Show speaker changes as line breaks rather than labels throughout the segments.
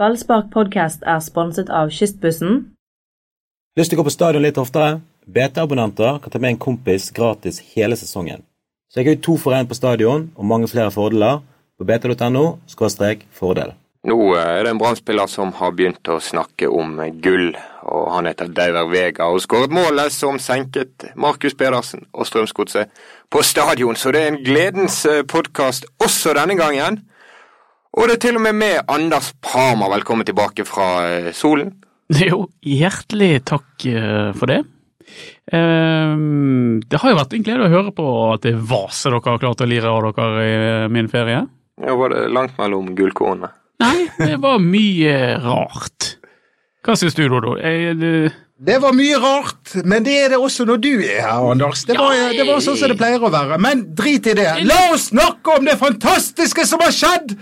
Ballspark podcast er sponset av Kystbussen.
Lyst til å gå på stadion litt oftere? BT-abonnenter kan ta med en kompis gratis hele sesongen. Så jeg har jo to for én på stadion, og mange flere fordeler på bt.no fordel.
Nå eh, er det en brannspiller som har begynt å snakke om eh, gull, og han heter Dauer Vega og skåret målet som senket Markus Pedersen og Strømsgodset på stadion. Så det er en gledens podkast også denne gangen. Og det er til og med med Anders Parma, velkommen tilbake fra eh, solen.
Jo, hjertelig takk eh, for det. Ehm, det har jo vært en glede å høre på at det vaset dere har klart å lire av dere i eh, min ferie.
Ja, var det langt mellom gullkornene?
Nei, det var mye rart. Hva syns du, Dodo? Jeg, det-
Det var mye rart, men det er det også når du er her, Anders. Det var, det var sånn som det pleier å være. Men drit i det. La oss snakke om det fantastiske som har skjedd!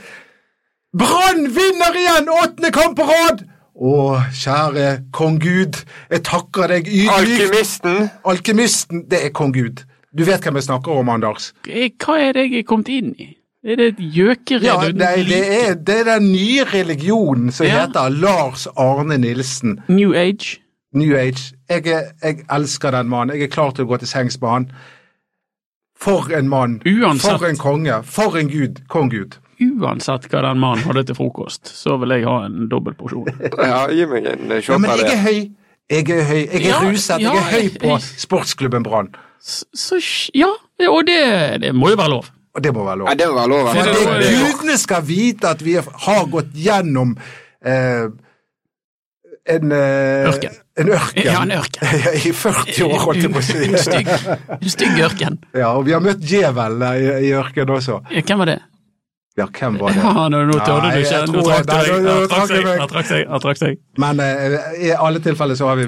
Brann vinner igjen åttende kamp på rad! Å, kjære kong Gud, jeg takker deg ydmykt.
Alkymisten!
Alkymisten, det er kong Gud. Du vet hvem jeg snakker om, Anders.
jeg, hva er det jeg er kommet inn i? Er det et gjøkered
Ja,
uten
nei, det
like?
er, det er den nye religionen som
Ja.
heter Lars Arne Nilsen.
New Age?
New Age. Jeg, er, jeg elsker den mannen. Jeg er klar til å gå til sengs med han. For en mann.
Uansett.
For en konge. For en gud. Kong-gud.
Uansett hva den mannen hadde til frokost, så vil jeg ha en dobbel porsjon.
Ja, gi meg en eh,
Ja,
shot
men
av
jeg er
det.
høy. Jeg er høy. Jeg er
Ja,
ruset.
ja,
jeg er høy på
jeg-
sportsklubben Brann.
Så, så ja, og det, det må jo være lov.
Og det må være lov.
Ja, det var lov.
Det
Men
altså.
er
det
lov, det er lov.
gudene skal vite at vi har gått gjennom eh, en eh,
Ørken.
En ørken.
Ja, en ørken.
I 40 år, holdt jeg på å
En
si.
stygg, en stygg ørken.
Ja, og vi har møtt djevel i, i ørkenen også.
Ja, Hvem var det?
Ja, hvem var det?
Ja, nå, nå tørde du
Nei,
ikke.
jeg
Nå
tror-
trakk du
nei,
deg.
nå- nå
Nå trakk
trakk jeg
jeg,
meg.
nå trakk jeg, nå trakk jeg.
Men eh, i alle tilfeller så har vi,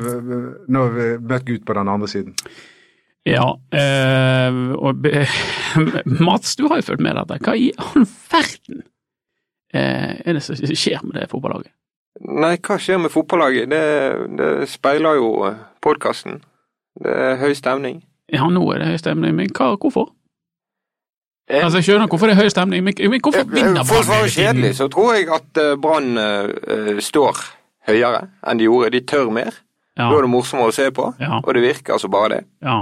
nå har vi møtt Gud på den andre siden.
Ja, eh, og be, Mats, du har jo fulgt med dette. Hva i all verden eh, er det som skjer med det fotballaget?
Nei, hva skjer med fotballaget? Det, det speiler jo podkasten. Det er høy stemning.
Ja, nå er det høy stemning, men hva, hvorfor?
Eh,
Altså, Jeg skjønner hvorfor det er høy stemning, men, men
eh,
hvorfor vinner
For å
Brann
svare
hele tiden?
kjedelig, så tror jeg at eh, Brann eh, eh, står høyere enn de gjorde. De tør mer.
Ja,
Da er det morsommere å se på,
Ja.
og det virker altså bare det.
ja.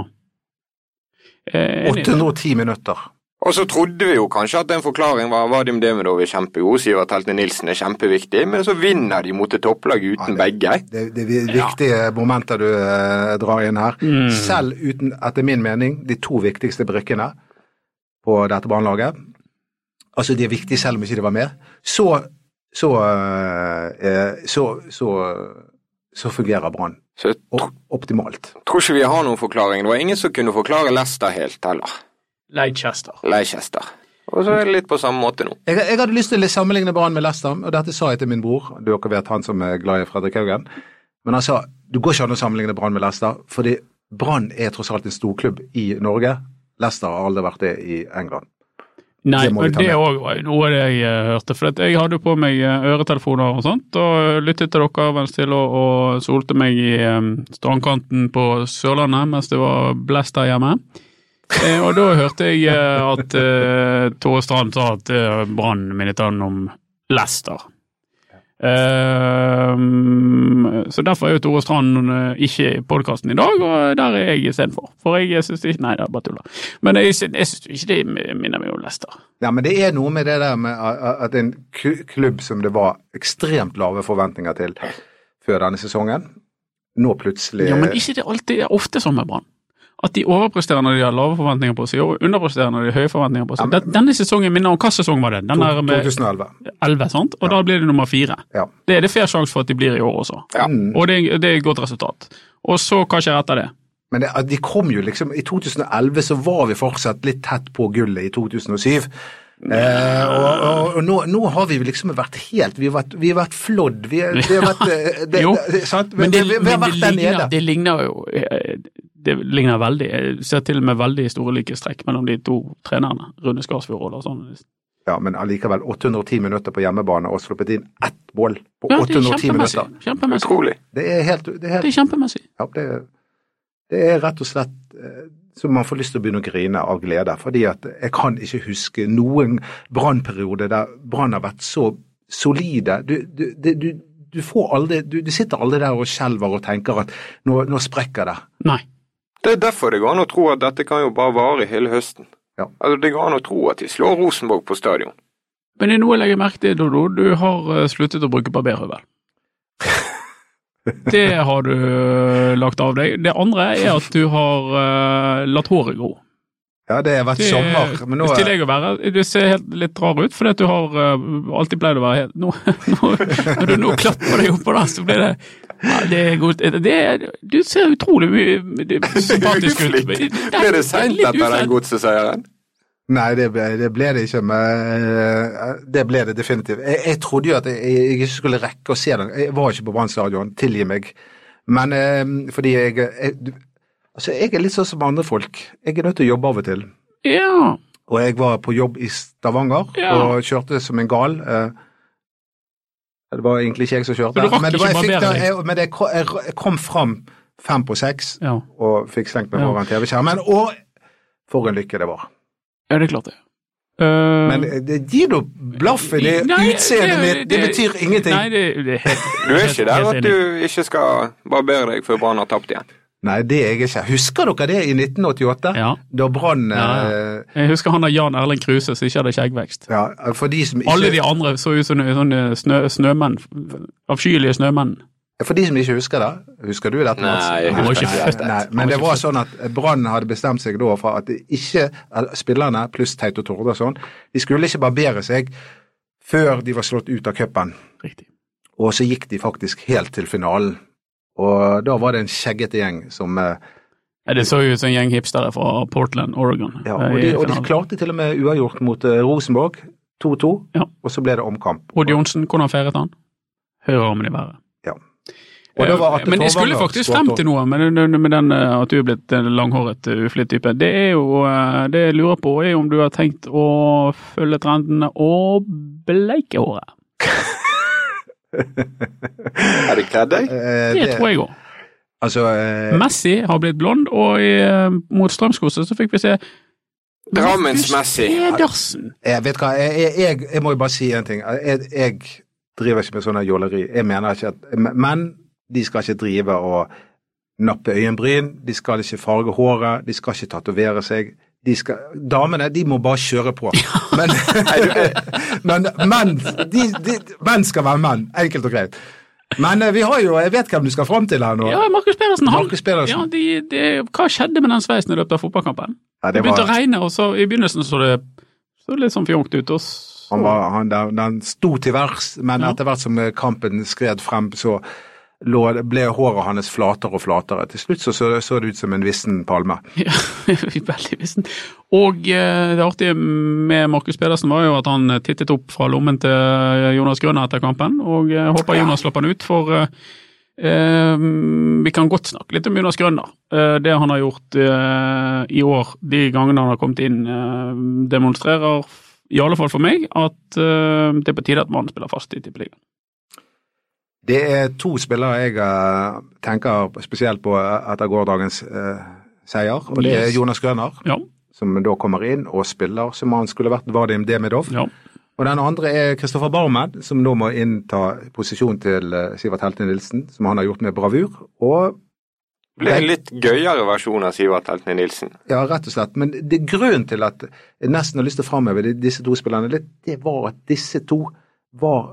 Eh, enig.
810 minutter.
Og så trodde vi jo kanskje at en forklaring var Vadim Demidov er kjempegod, Sivert Heltne Nilsen er kjempeviktig, men så vinner de mot et topplag uten
Ja, det-
begge.
Det, det er viktige momenter du eh, drar inn her.
Mm.
Selv uten, etter min mening, de to viktigste brikkene på dette brannlaget. Altså, de er viktige selv om ikke de var med. Så så, eh, så, så, så fungerer Brann
Så jeg
Op- optimalt.
tror ikke vi har noen forklaring. Det var ingen som kunne forklare Leicester helt heller.
Leicester.
Leicester. Og så er det litt på samme måte nå.
Jeg, jeg hadde lyst til å sammenligne Brann med Leicester, og dette sa jeg til min bror, dere vet han som er glad i Fredrik Haugen. Men han sa du går ikke an å sammenligne Brann med Leicester, fordi Brann er tross alt en storklubb i Norge. Leicester har aldri vært det i England.
Nei,
Det må vi
og
ta
det
med.
òg var jo noe jeg eh, hørte. For at jeg hadde jo på meg eh, øretelefoner og sånt, og lyttet til dere mens til og, og solte meg i eh, strandkanten på Sørlandet mens det var blest der hjemme. Eh, og da hørte jeg eh, at eh, Tore Strand sa at eh, Brann minnet han om Leicester. Eh, så derfor er jo Tore Strand eh, ikke i podkasten i dag, og der er jeg istedenfor. For jeg syns ikke Nei, det er bare tulla. Men jeg, sy- jeg syns ikke det minner meg om Leicester.
Ja, men det er noe med det der med a- a- at en ku- klubb som det var ekstremt lave forventninger til før denne sesongen, nå plutselig
Ja, men ikke det alltid, det er ofte sånn med Brann. At de overpresterer når de har lave forventninger på seg, og underpresterer når de har høye forventninger på seg.
Ja, men-
Den- Denne sesongen minner om hva sesong var det? Den der med
2011.
11, sant? Og da blir det nummer fire.
Ja.
Det er det fair sjanse for at de blir i år også.
Ja.
Mm.
Og det er, det er et godt resultat. Og så hva skjer etter det?
Men det, de kom jo liksom I 2011 så var vi fortsatt litt tett på gullet i 2007. Eh, og og, og nå, nå har vi liksom vært helt Vi har vært, vi har vært flådd. Vi, er- det har vært eh, det,
Jo,
det, sant?
Men det,
vi, vi har
men det,
vært der
ligner,
nede.
det ligner jo eh, Det ligner veldig Jeg ser til og med veldig store likhetstrekk mellom de to trenerne. Rune Skarsfjord og Lars Arne Nilsen.
Ja, Men allikevel 810 minutter på hjemmebane og sluppet inn ett mål på
Ja, det er
810
kjempemessig.
minutter.
Kjempemessig.
Utrolig.
Det er helt det er,
Det
helt,
er kjempemessig.
ja, det, det er rett og slett eh, så man får lyst til å begynne å grine av glede. Fordi at jeg kan ikke huske noen brannperiode der Brann har vært så solide. Du, du, det- du, du, får aldri, du, du sitter aldri der og skjelver og tenker at nå, nå sprekker det.
Nei.
Det er derfor det går an å tro at dette kan jo bare vare hele høsten.
Ja.
Altså, det går an å tro at de slår Rosenborg på stadion.
Men det er noe jeg legger merke til, Dodo. Du har eh, sluttet å bruke barberhøvel. Det har du eh, lagt av deg. Det andre er at du har eh, latt håret gro.
Ja, det har vært
Det er
sommer, men nå er
tillegg å være, Du ser helt litt rar ut, fordi at du har eh, alltid pleid å være helt nå, nå, Når du nå klapper deg oppå der, så blir det ja, det er godt. Det er, du ser utrolig mye det er sympatisk ut. men-
Uflikt. Ble det seint
litt
etter
uflett.
den godseseieren?
Nei, det ble det, ble det ikke, men eh, det ble det definitivt. Jeg, jeg trodde jo at jeg, jeg ikke skulle rekke å se den. Jeg var ikke på Brann stadion, tilgi meg. Men eh, fordi jeg, jeg du- Altså, jeg er litt sånn som andre folk. Jeg er nødt til å jobbe av og til.
Ja.
Og jeg var på jobb i Stavanger
Ja.
og kjørte som en gal. eh. Det var egentlig ikke jeg som kjørte,
Men du rakk
men, det
ikke liksom.
var, jeg fikk
barbere
da- jeg, men jeg, ko- jeg, jeg kom fram fem på seks
ja.
og fikk slengt meg
Ja.
foran TV-skjermen. Og for en lykke det var.
Ja, det er klart det. Eh,
Men det, gi nå blaffen i
nei,
utseendet mitt, det betyr ingenting.
Nei, det, det er helt,
Du er ikke
helt-
der
helt
at
enig.
du ikke skal barbere deg før Brann har tapt igjen.
Nei, det er jeg ikke. Husker dere det i 1988?
Ja.
Da brann
Ja,
eh,
Jeg husker han der Jan Erling Kruse som ikke hadde skjeggvekst.
ja, for, de som
Alle de
ikke,
andre så ut som sånne snø, snømenn. Avskyelige snømenn.
for de som ikke husker det, husker du dette? Mats?
Nei, jeg
Han var ikke født.
Nei,
Han
men det
ikke
var
født.
sånn at Brann hadde bestemt seg da for at det ikke, eller spillerne pluss Teit og Tord og sånn, de skulle ikke barbere seg før de var slått ut av cupen.
Riktig.
Og så gikk de faktisk helt til finalen. Og da var det en skjeggete gjeng som eh,
Ja, det så jo ut som en gjeng hipstere fra Portland, Oregon.
Ja,
eh,
og
i
de, og de
finalen.
klarte til og med uavgjort mot eh, Rosenborg. 2-2,
Ja.
og så ble det omkamp.
Odd Johnsen, hvordan feiret han? Høyrearmen i været.
Ja. Og da var Atle
men jeg skulle
Torvanger
faktisk
skåret
frem
også.
til noe med, den- med den eh, at du er blitt en langhåret, eh, uflitt type. Det er jo eh, Det jeg lurer på, er om du har tenkt å følge trendene og bleike håret.
Er det kledd deg?
Eh,
Det tror jeg òg.
Altså, eh,
Messi har blitt blond, og i, eh, mot Strømskose så fikk vi se
Drammens Messi.
Pedersen.
jeg Eh, vet hva, jeg, jeg- jeg, jeg må jo bare si en ting. Eh, Jeg, jeg driver ikke med sånne jåleri. Jeg mener ikke at Men de skal ikke drive og nappe øyenbryn, de skal ikke farge håret, de skal ikke tatovere seg. De skal, damene, de må bare kjøre på. Men, men menn de, de, menn skal være menn, enkelt og greit. Men eh, vi har jo Jeg vet hvem du skal fram til her nå.
Ja, Markus Pedersen. Han,
Markus Pedersen.
Ja, de, de, hva skjedde med den sveisen i løpet av fotballkampen?
Ja,
Det
det
begynte å
var,
regne, og så i begynnelsen så det så det litt sånn fjongt ut. Og så,
han var, han, den, den sto til værs, men
Ja.
etter hvert som eh, kampen skred frem, så lå, ble håret hans flatere og flatere. Til slutt så, så, så det ut som en vissen palme.
Ja, veldig vissen. Og eh, det artige med Markus Pedersen var jo at han eh, tittet opp fra lommen til eh, Jonas Grønner etter kampen, og jeg håper Jonas slapp han ut, for eh, eh, vi kan godt snakke litt om Jonas Grønner. Eh, det han har gjort eh, i år, de gangene han har kommet inn, eh, demonstrerer, i alle fall for meg, at eh, det er på tide at mannen spiller fast i Tippeligaen.
Det er to spillere jeg eh, tenker spesielt på etter gårsdagens eh, seier. Og det er
Yes.
Jonas Grønner,
Ja,
som da kommer inn og spiller som han skulle vært Vadim Demidov.
ja.
Og den andre er Kristoffer Barmen, som nå må innta posisjon til eh, Sivert Helte Nilsen, som han har gjort med bravur. Og
Blir en litt gøyere versjon av Sivert Heltne Nilsen.
Ja, rett og slett. Men det grunnen til at jeg nesten har lyst til å framheve de- disse to spillerne, det, det var at disse to var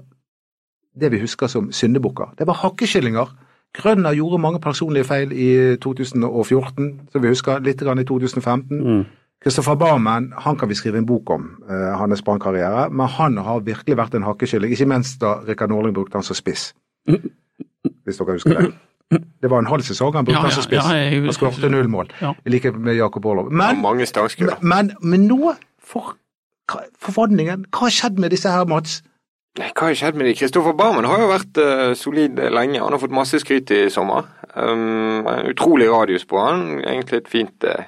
det vi husker som syndebukker. Det var hakkekyllinger. Grønner gjorde mange personlige feil i 2014, som vi husker, litt grann i 2015.
Mm.
Kristoffer Barmen han kan vi skrive en bok om, eh, hans brannkarriere, men han har virkelig vært en hakkekylling, ikke minst da Rikard Norling brukte han som spiss.
Mm.
Hvis dere husker det. Det var en halv sesong han brukte
Ja,
han
ja,
som spiss.
ja, jeg-
han skåret null mål,
Ja.
i likhet med Jakob Orlov.
Og
Men
mange stangskudd.
men, men, men nå, for hva- forvandlingen, hva har skjedd med disse her, Mats?
Nei, Hva har skjedd med de? Kristoffer Barmen har jo vært eh, solid lenge. Han har fått masse skryt i sommer. Um, en utrolig radius på han. Egentlig et fint uh,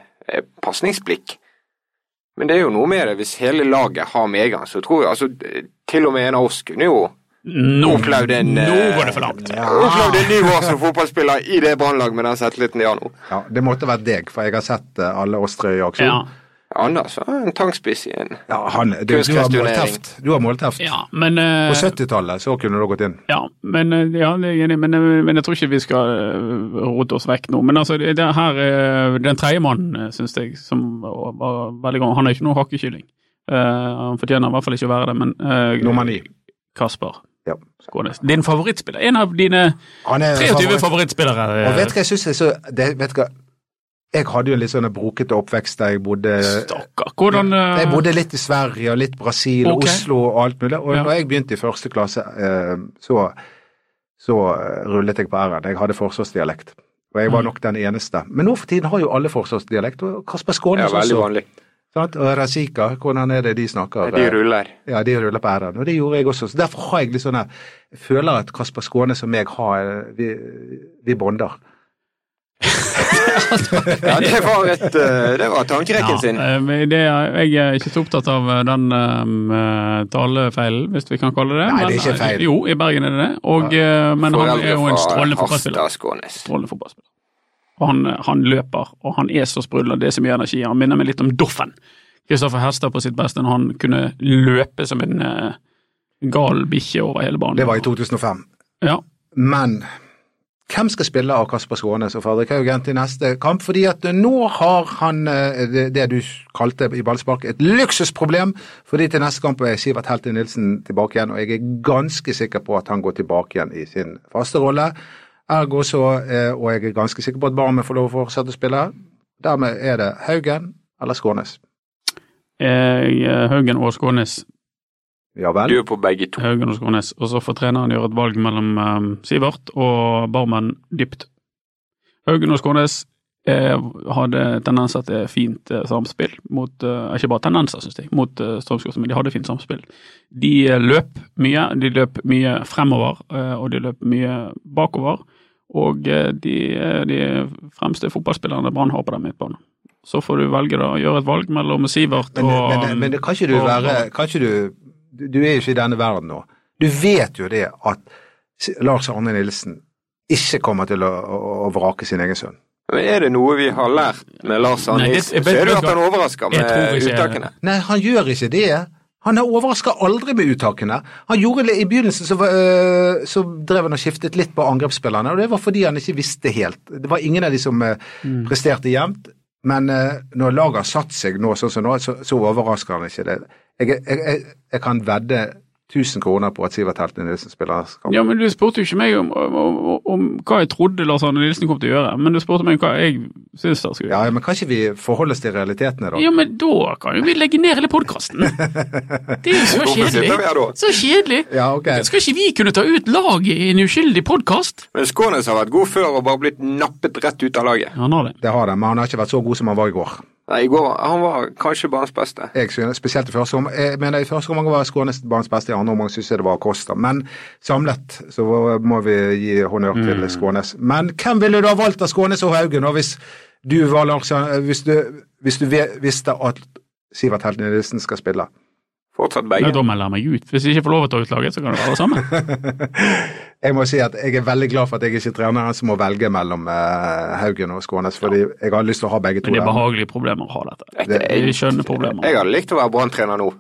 pasningsblikk. Men det er jo noe med det. Hvis hele laget har medgang, så tror jeg altså eh, Til og med en av oss kunne jo
Nå,
opplevd en
nå
eh,
var det for langt.
Opplevd en ny vår som fotballspiller i det brannlaget med den selvtilliten de har nå.
Ja, Det måtte vært deg, for jeg har sett eh, alle oss tre i aksjon.
Ja.
Anders var en tangspiss i en
Ja, han, det, du har
Kunstgressturnering.
målteft. Du har målteft.
Ja, men eh,
På 70-tallet så kunne du gått inn.
Ja, men, eh, ja, det er jeg enig, i, men, eh, men jeg tror ikke vi skal eh, rote oss vekk nå. Men altså, det, det her, eh, den tredje mannen, syns jeg, som var var veldig god, han er ikke noe hakkekylling. Eh, han fortjener i hvert fall ikke å være det, men eh,
Nummer ni.
Kasper
Ja.
Skånes. Din favorittspiller. En av dine
Han er
23
Eh, favoritt.
favorittspillere. eh,
Og vet du hva jeg syns er så det, vet du hva? Jeg hadde jo en litt sånn brokete oppvekst der jeg bodde
Stakkar. Hvordan eh,
Jeg bodde litt i Sverige og litt Brasil og
Ok.
Oslo og alt mulig. Og
Ja.
når jeg begynte i første klasse, eh, så, så eh, rullet jeg på r-en. Jeg hadde forsvarsdialekt. Og
Mm.
jeg var nok den eneste. Men nå for tiden har jo alle forsvarsdialekt. Og Kasper
Det er
Skånes
veldig
også.
vanlig.
Sant? Og Razika, hvordan er det de snakker?
De ruller.
Ja, de ruller på r-en. Og det gjorde jeg også. Så derfor har jeg litt sånn her- Jeg føler at Kasper Skånes og meg har eh, Vi, vi bonder.
Ja, det var, et, eh, det var tankerekken sin.
Ja, eh, men det er, jeg er ikke så opptatt av eh, den eh, talefeilen, hvis vi kan kalle det det.
Nei, det er ikke
Men, eh,
feil.
Jo, i Bergen er det det. Og, eh, men han er
Foreldre
jo en strålende
fra
fotballspiller.
Harstad Skånes.
Strålende fotballspiller. Og han, eh, han løper, og han er så sprudlende, og det er så mye energi. Han minner meg litt om Doffen. Kristoffer Herstad på sitt beste når han kunne løpe som en eh, gal bikkje over hele banen.
Det var i 2005.
Ja,
Men hvem skal spille av Kasper Skånes og Fredrik Haugen til neste kamp? Fordi at nå har han eh, det- det du kalte i ballspark et luksusproblem. Fordi til neste kamp er Sivert Helte Nilsen tilbake igjen, og jeg er ganske sikker på at han går tilbake igjen i sin faste rolle. Ergo så, eh, og jeg er ganske sikker på at Barmen får lov å fortsette å spille. Dermed er det Haugen eller Skånes.
jeg, eh, Haugen og Skånes.
Ja vel?
Du er på begge to.
Haugen og Skånes, og så får treneren gjøre et valg mellom eh, Sivert og Barmen dypt. Haugen og Skånes eh, hadde tendenser til fint eh, samspill mot eh, Ikke bare tendenser, synes jeg, mot eh, Strømsgodset, men de hadde fint samspill. De eh, løp mye. De løp mye fremover, eh, og de løp mye bakover. Og eh, de, eh, de fremste fotballspillerne Brann har på den midtbanen. Så får du velge, da. Gjøre et valg mellom Sivert
Men,
og
men, men, kan ikke du
og-
være kan ikke du, du- du er jo ikke i denne verden nå. Du vet jo det at S- Lars Arne Nilsen ikke kommer til å, å, å vrake sin egen sønn.
Men er det noe vi har lært med Lars Arne
Nei, det-
Nilsen,
jeg
så
vet-
er det jo
vet
at han overrasker
jeg tror
med
ikke-
uttakene.
Nei, han gjør ikke det. Han er overraska aldri med uttakene. Han gjorde det I begynnelsen så, var, øh, så drev han og skiftet litt på angrepsspillerne, og det var fordi han ikke visste helt. Det var ingen av de som øh, presterte jevnt, men øh, når laget har satt seg nå sånn som nå, så, så overrasker han ikke det. Jeg, jeg, jeg, jeg kan vedde 1000 kroner på at Sivert Helten Nilsen spiller kamp.
Ja, men du spurte jo ikke meg om, om, om, om hva jeg trodde Lars Arne Nilsen kom til å gjøre, men du spurte meg hva jeg syns han skulle gjøre.
Ja, men kan ikke vi forholde oss til realitetene, da?
Ja, men da kan jo vi legge ned hele podkasten! Det er jo så
Hvorfor sitter vi her
kjedelig.
da?
Så kjedelig.
Ja, ok.
Skal ikke vi kunne ta ut laget i en uskyldig podkast?
Men Skånes har vært god før og bare blitt nappet rett ut av laget.
Han har det.
Det har de, men han har ikke vært så god som han var i går.
Nei, i går han var kanskje banens beste.
jeg synes, spesielt i første omgang, jeg mener i første omgang var Skånes banens beste, i andre omgang synes jeg det var Kosta. Men samlet så må vi gi honnør til
Mm.
Skånes. Men hvem ville du ha valgt av Skånes og Haugen og hvis du var Lars Arne- hvis du, hvis du ve- visste at Sivert Helten Nilsen skal spille?
Fortsatt
Ja,
begge.
da melder jeg meg ut. Hvis jeg ikke får lov å ta ut laget, så kan det være det samme.
Jeg må si at jeg er veldig glad for at jeg ikke er treneren som må velge mellom eh, Haugen og Skånes, fordi jeg har lyst til å ha begge to
Men det er
der.
behagelige problemer å ha dette.
Det er-
Vi skjønner problemer.
Jeg hadde likt å være branntrener nå,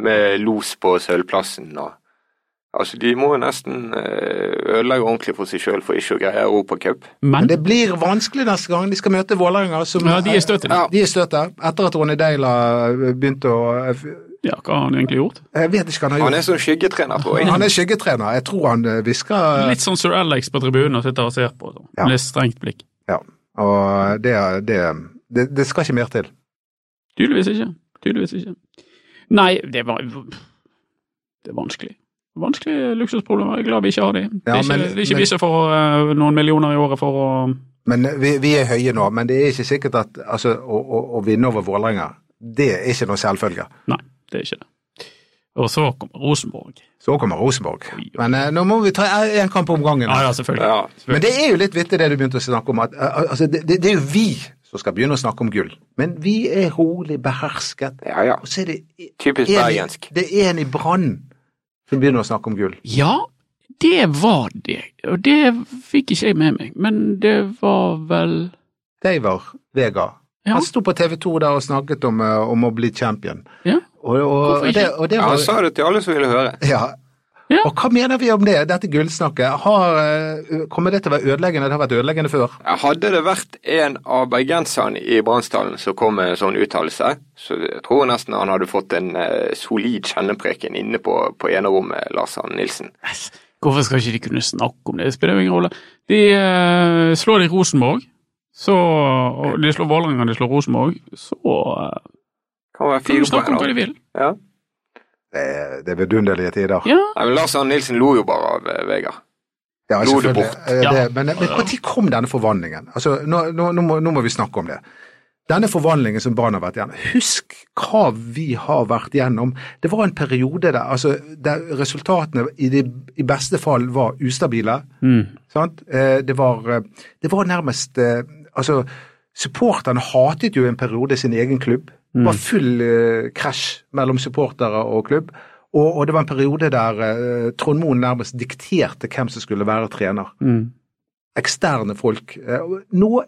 med los på sølvplassen og Altså, de må jo nesten eh, ødelegge ordentlig for seg sjøl for ikke å greie Europacup.
Men
Men
det blir vanskelig neste gang de skal møte Vålerenga. som-
ja, de er støtende.
Ja.
De er støtet. Etter at Ronny Deila begynte å
Ja, hva har han egentlig gjort?
Jeg vet ikke hva han har gjort.
Han er sånn skyggetrener, tror jeg.
Han er skyggetrener. Jeg tror han eh, hvisker
Litt sånn Sir Alex på tribunen og sitter og ser på. sånn.
Ja.
Med litt strengt blikk.
Ja. Og det, det, det, det skal ikke mer til.
Tydeligvis ikke. Tydeligvis ikke. Nei, det var Det er vanskelig. Vanskelige luksusproblemer. Jeg er glad vi ikke har de. Det
Ja,
er ikke,
men-
det er ikke
men-
vi som får eh, noen millioner i året for å
Men eh, vi, vi er høye nå, men det er ikke sikkert at altså, å, å, å vinne over Vålerenga, det er ikke noe selvfølge.
Nei, det er ikke det. Og så kommer Rosenborg.
Så kommer Rosenborg. Men eh, nå må vi ta én kamp om gangen.
Ja, ja, selvfølgelig.
Ja.
Men det er jo litt vittig det du begynte å snakke om, at eh, altså, det, det, det er jo vi som skal begynne å snakke om gull. Men vi er rolig behersket.
ja, ja.
Og så er det i-
Typisk
en i-
bergensk.
Det er en i Brann som begynner å snakke om gull.
Ja, det var det. Og det fikk ikke jeg med meg, men det var vel
Deiver Vega
Ja.
Han sto på TV 2 der og snakket om, eh, om å bli champion.
Ja.
Og,
ikke?
og, og, det, og det
Ja,
var
han sa det til alle som ville høre.
ja.
Ja.
Og hva mener vi om det, dette gullsnakket? Har, eh, kommer det til å være ødeleggende? Det har vært ødeleggende før.
Hadde det vært en av bergenserne i Bransdalen som kom med en sånn uttalelse, så jeg tror jeg nesten han hadde fått en eh, solid kjennepreken inne på, på enerommet, Lars Arne Nilsen.
Hvorfor skal ikke de kunne snakke om det? Det spiller jo ingen rolle. De eh, slår de Rosenborg, så, og de slår Vålerenga, de slår Rosenborg, så eh,
Kan være
kan
fire
de snakke om hva
poeng,
de vil.
da. Ja.
Det, er- Eh, det er vidunderlige tider.
Ja,
Nei, men Lars Arne Nilsen lo jo bare av eh, Vegard.
Ja,
Blodet
selvfølgelig.
bort.
Eh,
Ja.
Det, men men når kom denne forvandlingen? Altså, nå, nå, nå, må, nå må vi snakke om det. Denne forvandlingen som Brann har vært gjennom, husk hva vi har vært gjennom. Det var en periode der, altså, der resultatene i, de, i beste fall var ustabile. Sant? Eh, Det, var, eh, det var nærmest eh, Altså, supporterne hatet jo i en periode sin egen klubb. Det
Mm.
var full eh, krasj mellom supportere og klubb. Og, og det var en periode der eh, Trond Moen nærmest dikterte hvem som skulle være trener. Eksterne folk. Eh, og Nå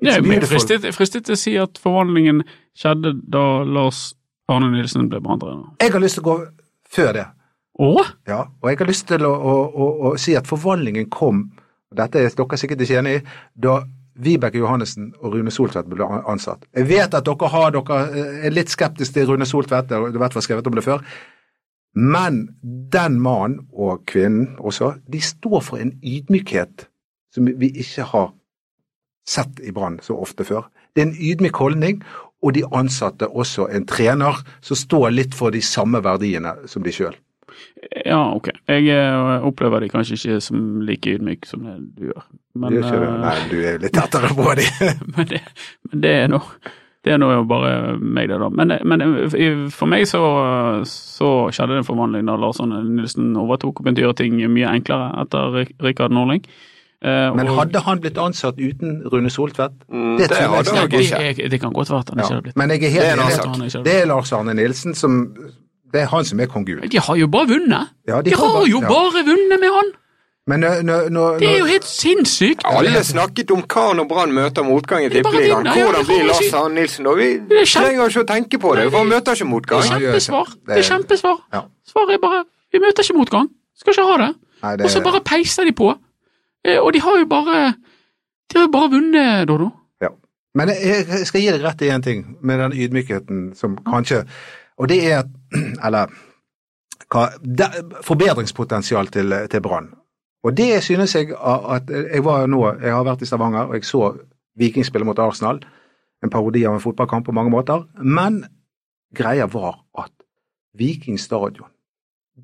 det er
It's
jo
beautiful.
fristet, jeg er fristet til å si at forvandlingen skjedde da Lars Arne Nilsen ble branntrener.
Jeg har lyst til å gå før det.
Å?
Ja, og jeg har lyst til å, å, å, å si at forvandlingen kom, og dette er dere sikkert ikke enig i, da Vibeke Johannessen og Rune Soltvedt ble an- ansatt. Jeg vet at dere, har, dere eh, er litt skeptiske til Rune Soltvedt, og du vet hva jeg har skrevet om det før, men den mannen, og kvinnen også, de står for en ydmykhet som vi ikke har sett i Brann så ofte før. Det er en ydmyk holdning, og de ansatte også en trener som står litt for de samme verdiene som de sjøl.
Ja, ok. Jeg eh, opplever de kanskje ikke som like ydmyk som det du gjør. Men,
du gjør ikke det?
eh,
Nei, du er jo litt tettere på dem.
men, det, men det er nå det er nå jo bare meg, det, da. Men, men i- for meg så, så skjedde det en forvandling da Lars Arne Nilsen overtok og begynte å gjøre ting mye enklere etter Rik- Rikard Norling. Eh,
Men
og-
hadde han blitt ansatt uten Rune Soltvedt?
Mm,
Det
det
tror jeg
hadde
ikke.
han
det,
ikke.
er- det kan godt være at han
Ja.
ikke hadde blitt
Men jeg er
Det er en
helt
annen
enig.
sak.
Han er ikke-
Det er Lars Arne Nilsen som Det er han som er kong Gud.
De har jo bare vunnet!
Ja,
De har jo
ja.
bare vunnet med han!
Men nå, nå, nå,
Det er jo
nå
helt sinnssykt!
Alle snakket om hva når Brann møter motgang i
Det er bare
Tippeligaen.
vinner, ja,
Hvordan
det
blir
kan man
Lars
si.
Arne Nilsen da? Vi
er kjempe-
trenger ikke å tenke på det, for han møter ikke
Det
motgang.
er
Ja, han gjør ikke
kjempesvar.
det.
Det er kjempesvar.
Ja.
Svaret er bare vi møter ikke motgang. Skal ikke ha det.
Nei, det-
Og så bare peiser de på. Eh, Og de har jo bare De har jo bare vunnet, Dodo.
ja. Men jeg jeg skal gi deg rett i én ting, med den ydmykheten som kanskje Og det er at Eller hva, det- forbedringspotensial til, til Brann. Og det synes jeg a- at Jeg var nå, jeg har vært i Stavanger, og jeg så Viking spille mot Arsenal. En parodi av en fotballkamp på mange måter. Men greia var at Viking stadion,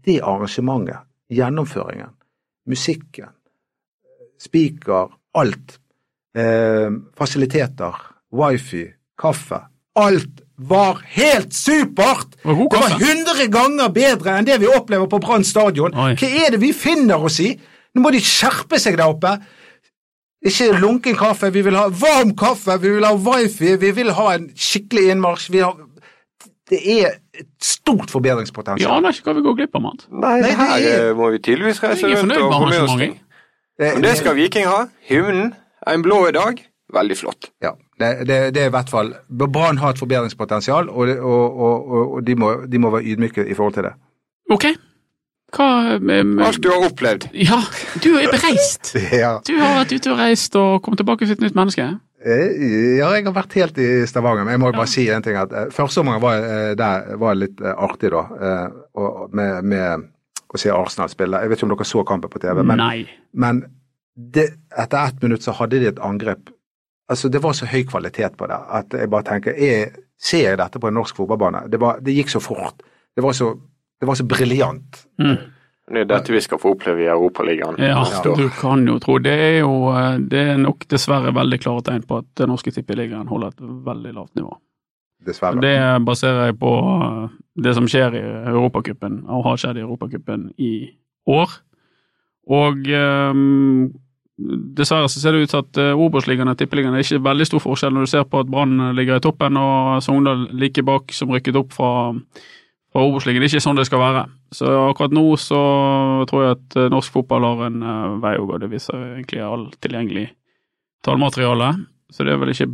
det arrangementet, gjennomføringen, musikken, spiker, alt, eh, fasiliteter, wifi, kaffe Alt var helt supert!
Og god
Det var
kaffe.
100 ganger bedre enn det vi opplever på Brann stadion.
Oi.
Hva er det vi finner oss i? Nå må de skjerpe seg der oppe. Ikke lunken kaffe, vi vil ha varm kaffe, vi vil ha wifi, vi vil ha en skikkelig innmarsj. Vi har... Det er et stort
Vi
forbedringspotensial.
aner ikke hva vi går glipp av, Mats.
Nei,
Nei,
det her
det er-
eh, må vi tydeligvis reise
Jeg er
rundt
fornøyd
og
med
få med oss.
arrangementet.
det,
Men det skal Viking ha. Hymnen er en blå i dag. Veldig flott.
Ja, det, det, det er i hvert fall Brann har et forbedringspotensial, og, det- og, og, og, og de, må, de må være ydmyke i forhold til det.
Ok. Hva em,
Alt du har opplevd.
Ja, du er bereist.
Ja.
Du har vært ute og reist og kommet tilbake som et nytt menneske.
Eh, Ja, jeg har vært helt i Stavanger, men jeg må jo bare si en ting. at eh, Førstesommeren var eh, der var litt eh, artig, da. eh, og- og Med, med å se Arsenal spille. Jeg vet ikke om dere så kampen på TV, men,
Nei.
men det, etter ett minutt så hadde de et angrep. Altså, det var så høy kvalitet på det at jeg bare tenker er, Ser jeg dette på en norsk fotballbane? Det, var, det gikk så fort. Det var så, det var så briljant.
Det er dette vi skal få oppleve i Europaligaen.
Hm. Ja,
neste år.
du kan jo tro. Det er jo eh, det er nok dessverre veldig klare tegn på at den norske tippeligaen holder et veldig lavt nivå.
Dessverre.
Det baserer jeg på eh, det som skjer i Europacupen, og har skjedd i Europacupen i år. Og ehm, dessverre så ser det ut til at eh, Obos-ligaen og Tippeligaen er ikke veldig stor forskjell når du ser på at Brann ligger i toppen og Sogndal like bak, som rykket opp fra, fra Obos-ligaen. Det er ikke sånn det skal være. Så akkurat nå så tror jeg at eh, norsk fotball har en eh, vei å gå. Det viser egentlig all tilgjengelig tallmateriale. Så det er vel ikke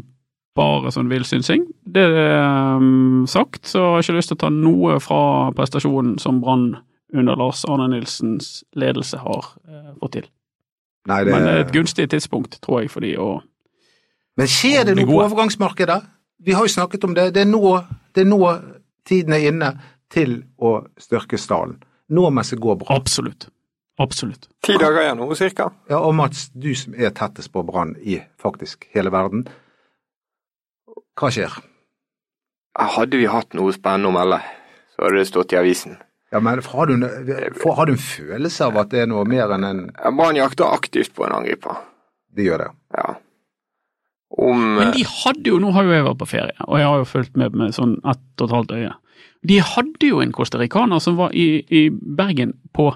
bare sånn villsynsing. Det um, sagt, så har jeg ikke lyst til å ta noe fra prestasjonen som Brann under Lars Arne Nilsens ledelse har eh, fått til.
Nei, det,
Men eh, det er
men,
et gunstig tidspunkt, tror jeg, for de å
skjer det
Det
noe
er
på
gode.
overgangsmarkedet? Vi har jo snakket om det. Det er nå, det er nå tiden er inne til å styrke stallen. Nå mens det går bra.
Absolutt. Absolutt.
Ti dager igjen nå, cirka.
Ja, og Mats, du som er tettest på Brann i faktisk hele verden. Hva skjer?
Hadde vi hatt noe spennende å melde, så hadde det stått i avisen.
Ja, men har du, en- får- har du en følelse av at det er noe mer enn en
Brann jakter aktivt på en angriper.
Det gjør det.
Ja. Om
Men de hadde jo, nå har jo jeg vært på ferie, og jeg har jo fulgt med med sånn ett og et halvt øye. De hadde jo en costaricaner som var i, i Bergen på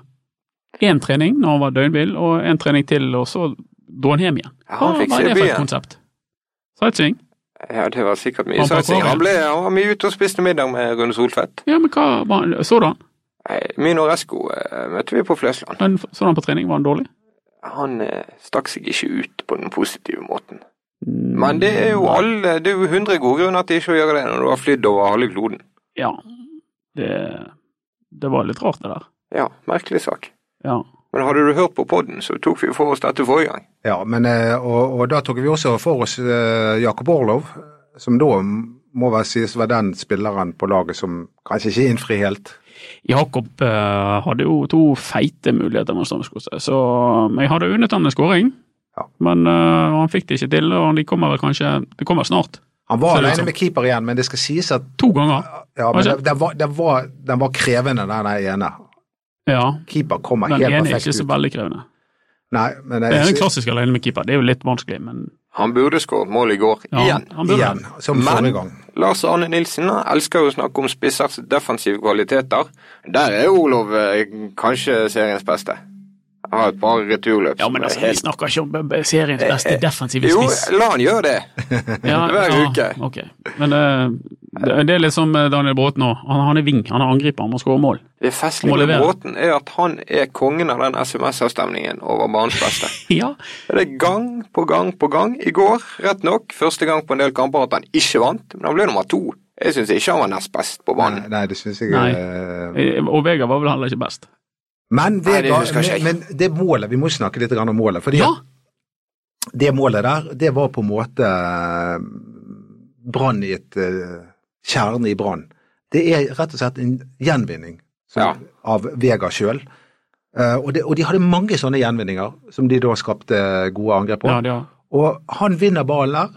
én trening når han var døgnvill, og én trening til, og så dro han hjem igjen.
Ja,
Hva
han fikk
var
se
det for et
byen.
konsept? Sightseeing?
Ja, det var sikkert mye
Han på
satsing.
akvariet.
Han ble han var mye ute og spiste middag med Rune Solfedt.
Ja, men hva var han? Så du han?
Nei, Min og Resko eh, møtte vi på Flesland.
Men Så du han på trening? Var han dårlig?
Han eh, stakk seg ikke ut på den positive måten. Men det er jo alle, det er jo 100 gode grunner til ikke å gjøre det når du har flydd over halve kloden.
Ja. Det, det var litt rart, det der.
Ja, merkelig sak.
Ja.
Men hadde du hørt på podden, så tok vi for oss dette forrige gang.
Ja, men, eh, og, og da tok vi også for oss eh, Jakob Orlov, som da må vel sies å være den spilleren på laget som kanskje ikke innfrir helt.
Jakob eh, hadde jo to feite muligheter mot Strømsgodset, så jeg hadde unnet han en skåring.
Ja.
Men eh, han fikk det ikke til, og de kommer vel kanskje Det kommer snart.
Han var
Ser det liksom- ut
alene
som.
med keeper igjen, men det skal sies at
To ganger.
ja, men
Altså-
den, den, var, den, var, den var krevende, den der ene.
Ja.
Keeper kommer
Den
helt
ene er
perfekt
ikke så
ut.
veldig krevende.
Nei, men
Det er
jeg-
en klassisk alene med keeper, det er jo litt vanskelig, men
Han burde skåret mål i går,
ja,
igjen.
han burde
igjen, som
Men-
forrige gang.
Lars Arne Nilsen han elsker jo å snakke om spissers defensive kvaliteter. Der er Olov eh, kanskje seriens beste. Han har et par returløp.
Ja,
som
men
er
altså, vi
helt-
snakker ikke om eh, eh, seriens beste defensive
Jo,
spiss.
la han gjøre det.
Ja,
hver
ja,
uke.
ok. Men eh, det, det er litt som eh, Daniel Bråten nå. Han, han er ving, han er angriper, han må skåre mål.
Det festlige
Må
med
levere.
Bråten er at han er kongen av den SMS-avstemningen over banens beste.
Ja,
Det er gang på gang på gang. I går, rett nok, første gang på en del kamper at han ikke vant, men han ble nummer to. Jeg syns ikke han var nest best på
Nei,
banen.
nei, det syns jeg
Nei.
eh,
eh, og Vegard var vel heller ikke best.
Men,
Nei, det
Vegard-
husker ikke jeg.
men det målet, vi må snakke litt grann om målet. fordi
Ja,
at det målet der, det var på en måte eh, brann i et eh, kjerne i brann. Det er rett og slett en gjenvinning som,
Ja.
av Vega sjøl. og, det- og de hadde mange sånne gjenvinninger som de da skapte gode angrep på.
ja, det var.
Og han vinner ballen der,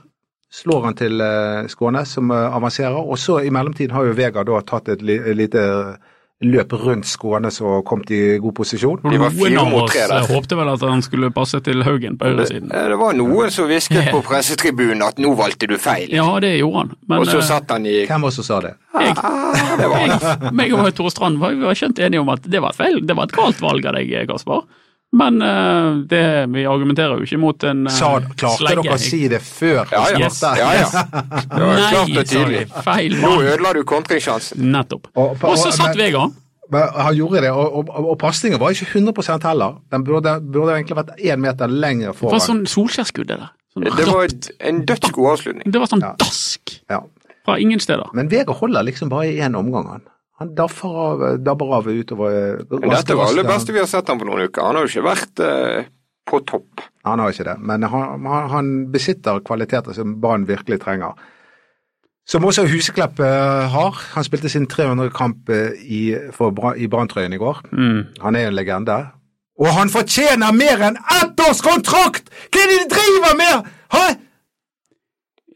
slår han til eh, Skånes som eh, avanserer, og så i mellomtiden har jo Vega da tatt et li lite løp rundt Skånes og kommet i god posisjon.
De var
Noen
fire
av
mot
oss
tre der.
eh, håpte vel at han skulle passe til Haugen på høyresiden.
Eh, Det var noen som hvisket på pressetribunen at 'nå valgte du feil',
Ja, det gjorde han. Men
og så
eh,
satt han i
Hvem var det som sa det?
Ah, Det var han.
jeg, meg og Tore Strand var, vi var skjønt enige om at det var et feil. Det var et galt valg av deg, Kasper. Men eh, det, vi argumenterer jo ikke mot en eh,
Sa, klarte
slegge.
dere å si det før?
Ja ja.
Yes.
ja, ja. Det var klart
Nei,
og
sa vi.
tydelig.
Feil
Nå
mann.
ødela du kontringssjansen.
Nettopp.
Og-
Og så satt
men-
Vegard.
Men han gjorde det, og, og, og pasningen var ikke 100 heller. Den burde, burde egentlig vært én meter lenger
Det var
foran.
sånn solskjærskudd, det der. Sånn
Det var
rapt.
en dødsgod avslutning.
det var sånn
Ja.
dask
Ja.
fra ingen steder.
Men Vega holder liksom bare i én omgang, han. Han dabber av, dabber av utover eh,
Men dette var det beste vi har sett han på noen uker. Han har jo ikke vært eh, på topp.
Han har ikke det, men han, han, han besitter kvaliteter som Brann virkelig trenger. Som også Huseklepp eh, har. Han spilte sin 300-kamp i, for Bra- i Brann-trøyen i går. Han er en legende. Og han fortjener mer enn ett års kontrakt! Hva er det de driver med?! Hæ?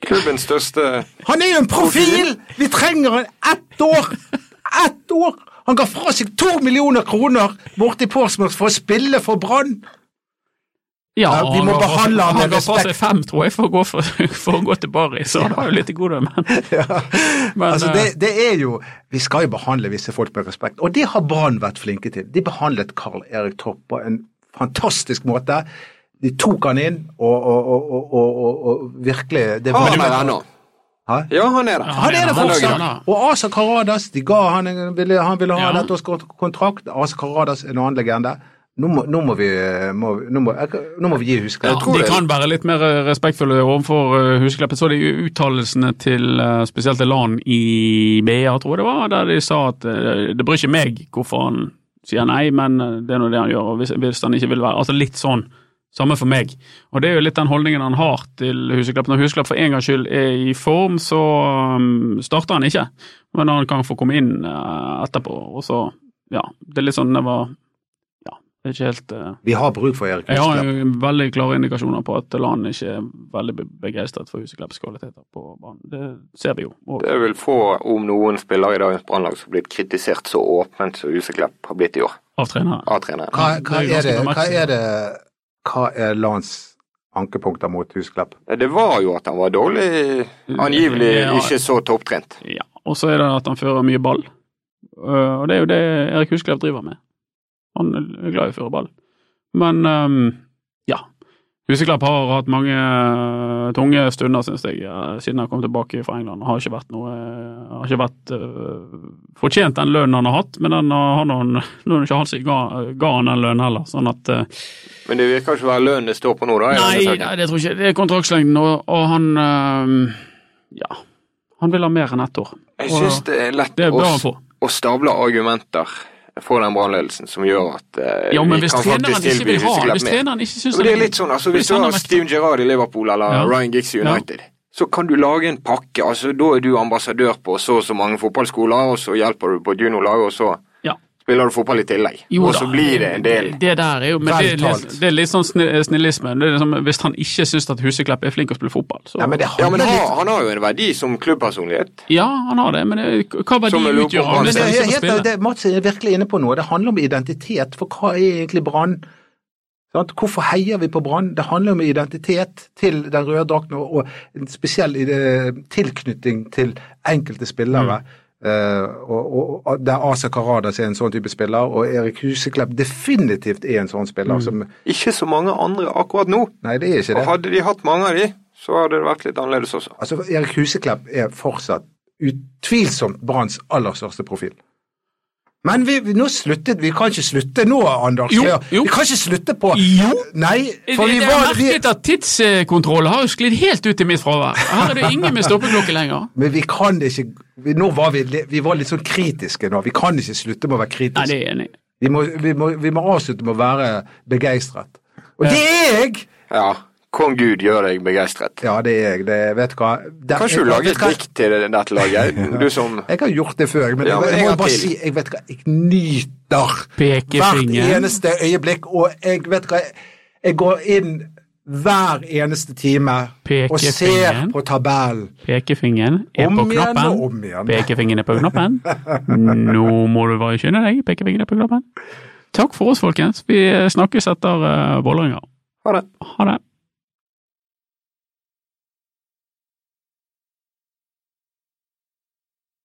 Klubbens største
Han er jo en profil! Vi trenger en ett år! Ett år! Han ga fra seg to millioner kroner borti Portsmouth for å spille for Brann!
Ja,
Ja, vi
han
må
ga-
behandle han med
ga fra seg
respekt.
fem, tror jeg, for å gå, for, for å gå til Bari, så han var jo litt i gode, men, men
altså
eh,
det, det er jo, Vi skal jo behandle visse folk med respekt, og det har Brann vært flinke til. De behandlet Karl Erik Torp på en fantastisk måte. De tok han inn, og, og, og, og, og, og, og virkelig det
Har han
var,
der ennå?
Hæ?
Ja, han er der.
Han er det
Han er
fortsatt!
grønn.
Og Asa Karadas de ga han, en- ville, han ville ha
Ja.
dette års kontrakt. Asa Karadas en annen legende. Nå må, nå må vi må, nå, må, jeg kan- nå må vi gi
Ja,
Husklepp.
tror
de
det.
kan være litt mer eh, respektfulle overfor eh, Husklepp. Jeg så de uttalelsene til eh, spesielt Elan i BA, tror jeg det var, der de sa at eh, det bryr ikke meg hvorfor han sier nei, men eh, det er nå det han gjør, og hvis, hvis han ikke vil være Altså litt sånn. Samme for meg. Og det er jo litt den holdningen han har til Huseklepp. Når Huseklepp for en gangs skyld er i form, så um, starter han ikke, men han kan få komme inn eh, etterpå, og så Ja, det er litt sånn det var Ja, det er ikke helt eh,
Vi har bruk for Erik
jeg har
Husklepp.
jo veldig klare indikasjoner på at Lan ikke er veldig be- begeistret for Huseklepps kvaliteter på banen. Det ser vi jo. Og
Det er vel få, om noen, spillere i dagens brannlag som har blitt kritisert så åpent som Huseklepp har blitt i år
av trenere.
av treneren.
Hva, hva,
Det er jo
er det,
ganske
hva
bemerkelsesverdig.
er det Hva er Lans ankepunkter mot Husklepp?
Det var jo at han var dårlig, angivelig
Ja.
ikke så topptrent.
Ja, Og så er det at han fører mye ball. Eh, og det er jo det Erik Husklepp driver med. Han er glad i å føre ball. Men ehm, ja. Huseklepp har hatt mange eh, tunge stunder, synes jeg, eh, siden han kom tilbake fra England. Har ikke vært noe Har ikke vært eh, fortjent den lønnen han har hatt, men den eh, har han, han, nå er det ikke han som ga, ga han den lønnen heller. Sånn at eh,
Men det virker ikke å være lønnen det står på nå, da. i denne
Nei,
saken.
nei, det tror jeg ikke. Det er kontraktslengden, og, og han ehm, Ja. Han vil ha mer enn ett år.
Jeg
Og
synes det er lett
det
å,
bør han få.
å stable argumenter for den brannledelsen som gjør at eh,
Ja, men
vi
hvis
kan
treneren
faktisk
ikke vil
tilby
ha han,
Huseklepp
hvis
mer.
treneren ikke synes
Ja, men det er
han-
litt sånn, altså Hvis du
han
har
har vært-
Steven Gerrard i Liverpool eller
Ja.
Ryan Giggs i
Ja.
United, så kan du lage en pakke. altså Da er du ambassadør på så og så mange fotballskoler, og så hjelper du på juniorlaget, og så
Ja.
spiller du fotball i tillegg.
Jo
og så
da,
blir det en del.
Det, det der er jo men det, er litt,
Veltalt.
det er litt sånn sni- snillisme. Det er liksom, hvis han ikke syns at Huseklepp er flink til å spille fotball, så
Ja, men det
Ja, men
handler
han,
litt
han har jo en verdi som klubbpersonlighet.
Ja, han har det, men det, hva verdi
Som jeg lurer på
utgjør
om han
han?
men
hvis
det,
han
er
ikke får
helt-
spille?
det, Mats er virkelig inne på noe. Det handler om identitet. For hva er egentlig Brann? Sant? Hvorfor heier vi på Brann? Det handler om identitet til den røde drakten og, og en spesiell ide- tilknytning til enkelte spillere. Eh, og, og, og Der Asa Karadas er en sånn type spiller, og Erik Huseklepp definitivt er en sånn spiller. som
Ikke så mange andre akkurat nå.
Nei, det er ikke
Og
det.
hadde de hatt mange av de, så hadde det vært litt annerledes også.
Altså, Erik Huseklepp er fortsatt utvilsomt Branns aller største profil. Men vi, vi, nå sluttet vi. kan ikke slutte nå, Anders.
Jo,
Lea.
jo.
Vi kan ikke slutte på
Jo.
Nei, for vi
Jeg
var
har
vi,
merket at tidskontrollen har jo sklidd helt ut i mitt fravær. Her er det ingen med stoppeklokke lenger.
Men vi kan ikke vi, Nå var vi, li- vi var litt sånn kritiske nå. Vi kan ikke slutte med å være
Nei,
kritiske.
det er jeg enig i.
Vi må, vi må, vi må avslutte med å være begeistret. Og det er jeg!
Ja, kong Gud gjør deg begeistret.
Ja, det er jeg. Det, vet du hva Det-
Kanskje
jeg-
du lager
vet
et
hva?
dikt til dette laget? Du som
Jeg har gjort det før, men
Ja, men
jeg,
en
må
gang
bare
til.
si Jeg vet hva, jeg nyter
Pekefingeren.
hvert eneste øyeblikk, og jeg vet hva Jeg går inn hver eneste time og ser
Pekefingeren.
på tabellen.
Pekefingeren er
Om
på
igjen
knappen.
og om igjen.
Pekefingeren er på knappen. Nå må du bare skynde deg. Pekefingeren er på knappen. Takk for oss, folkens. Vi snakkes etter uh, Vålerenga.
Ha det.
Ha det.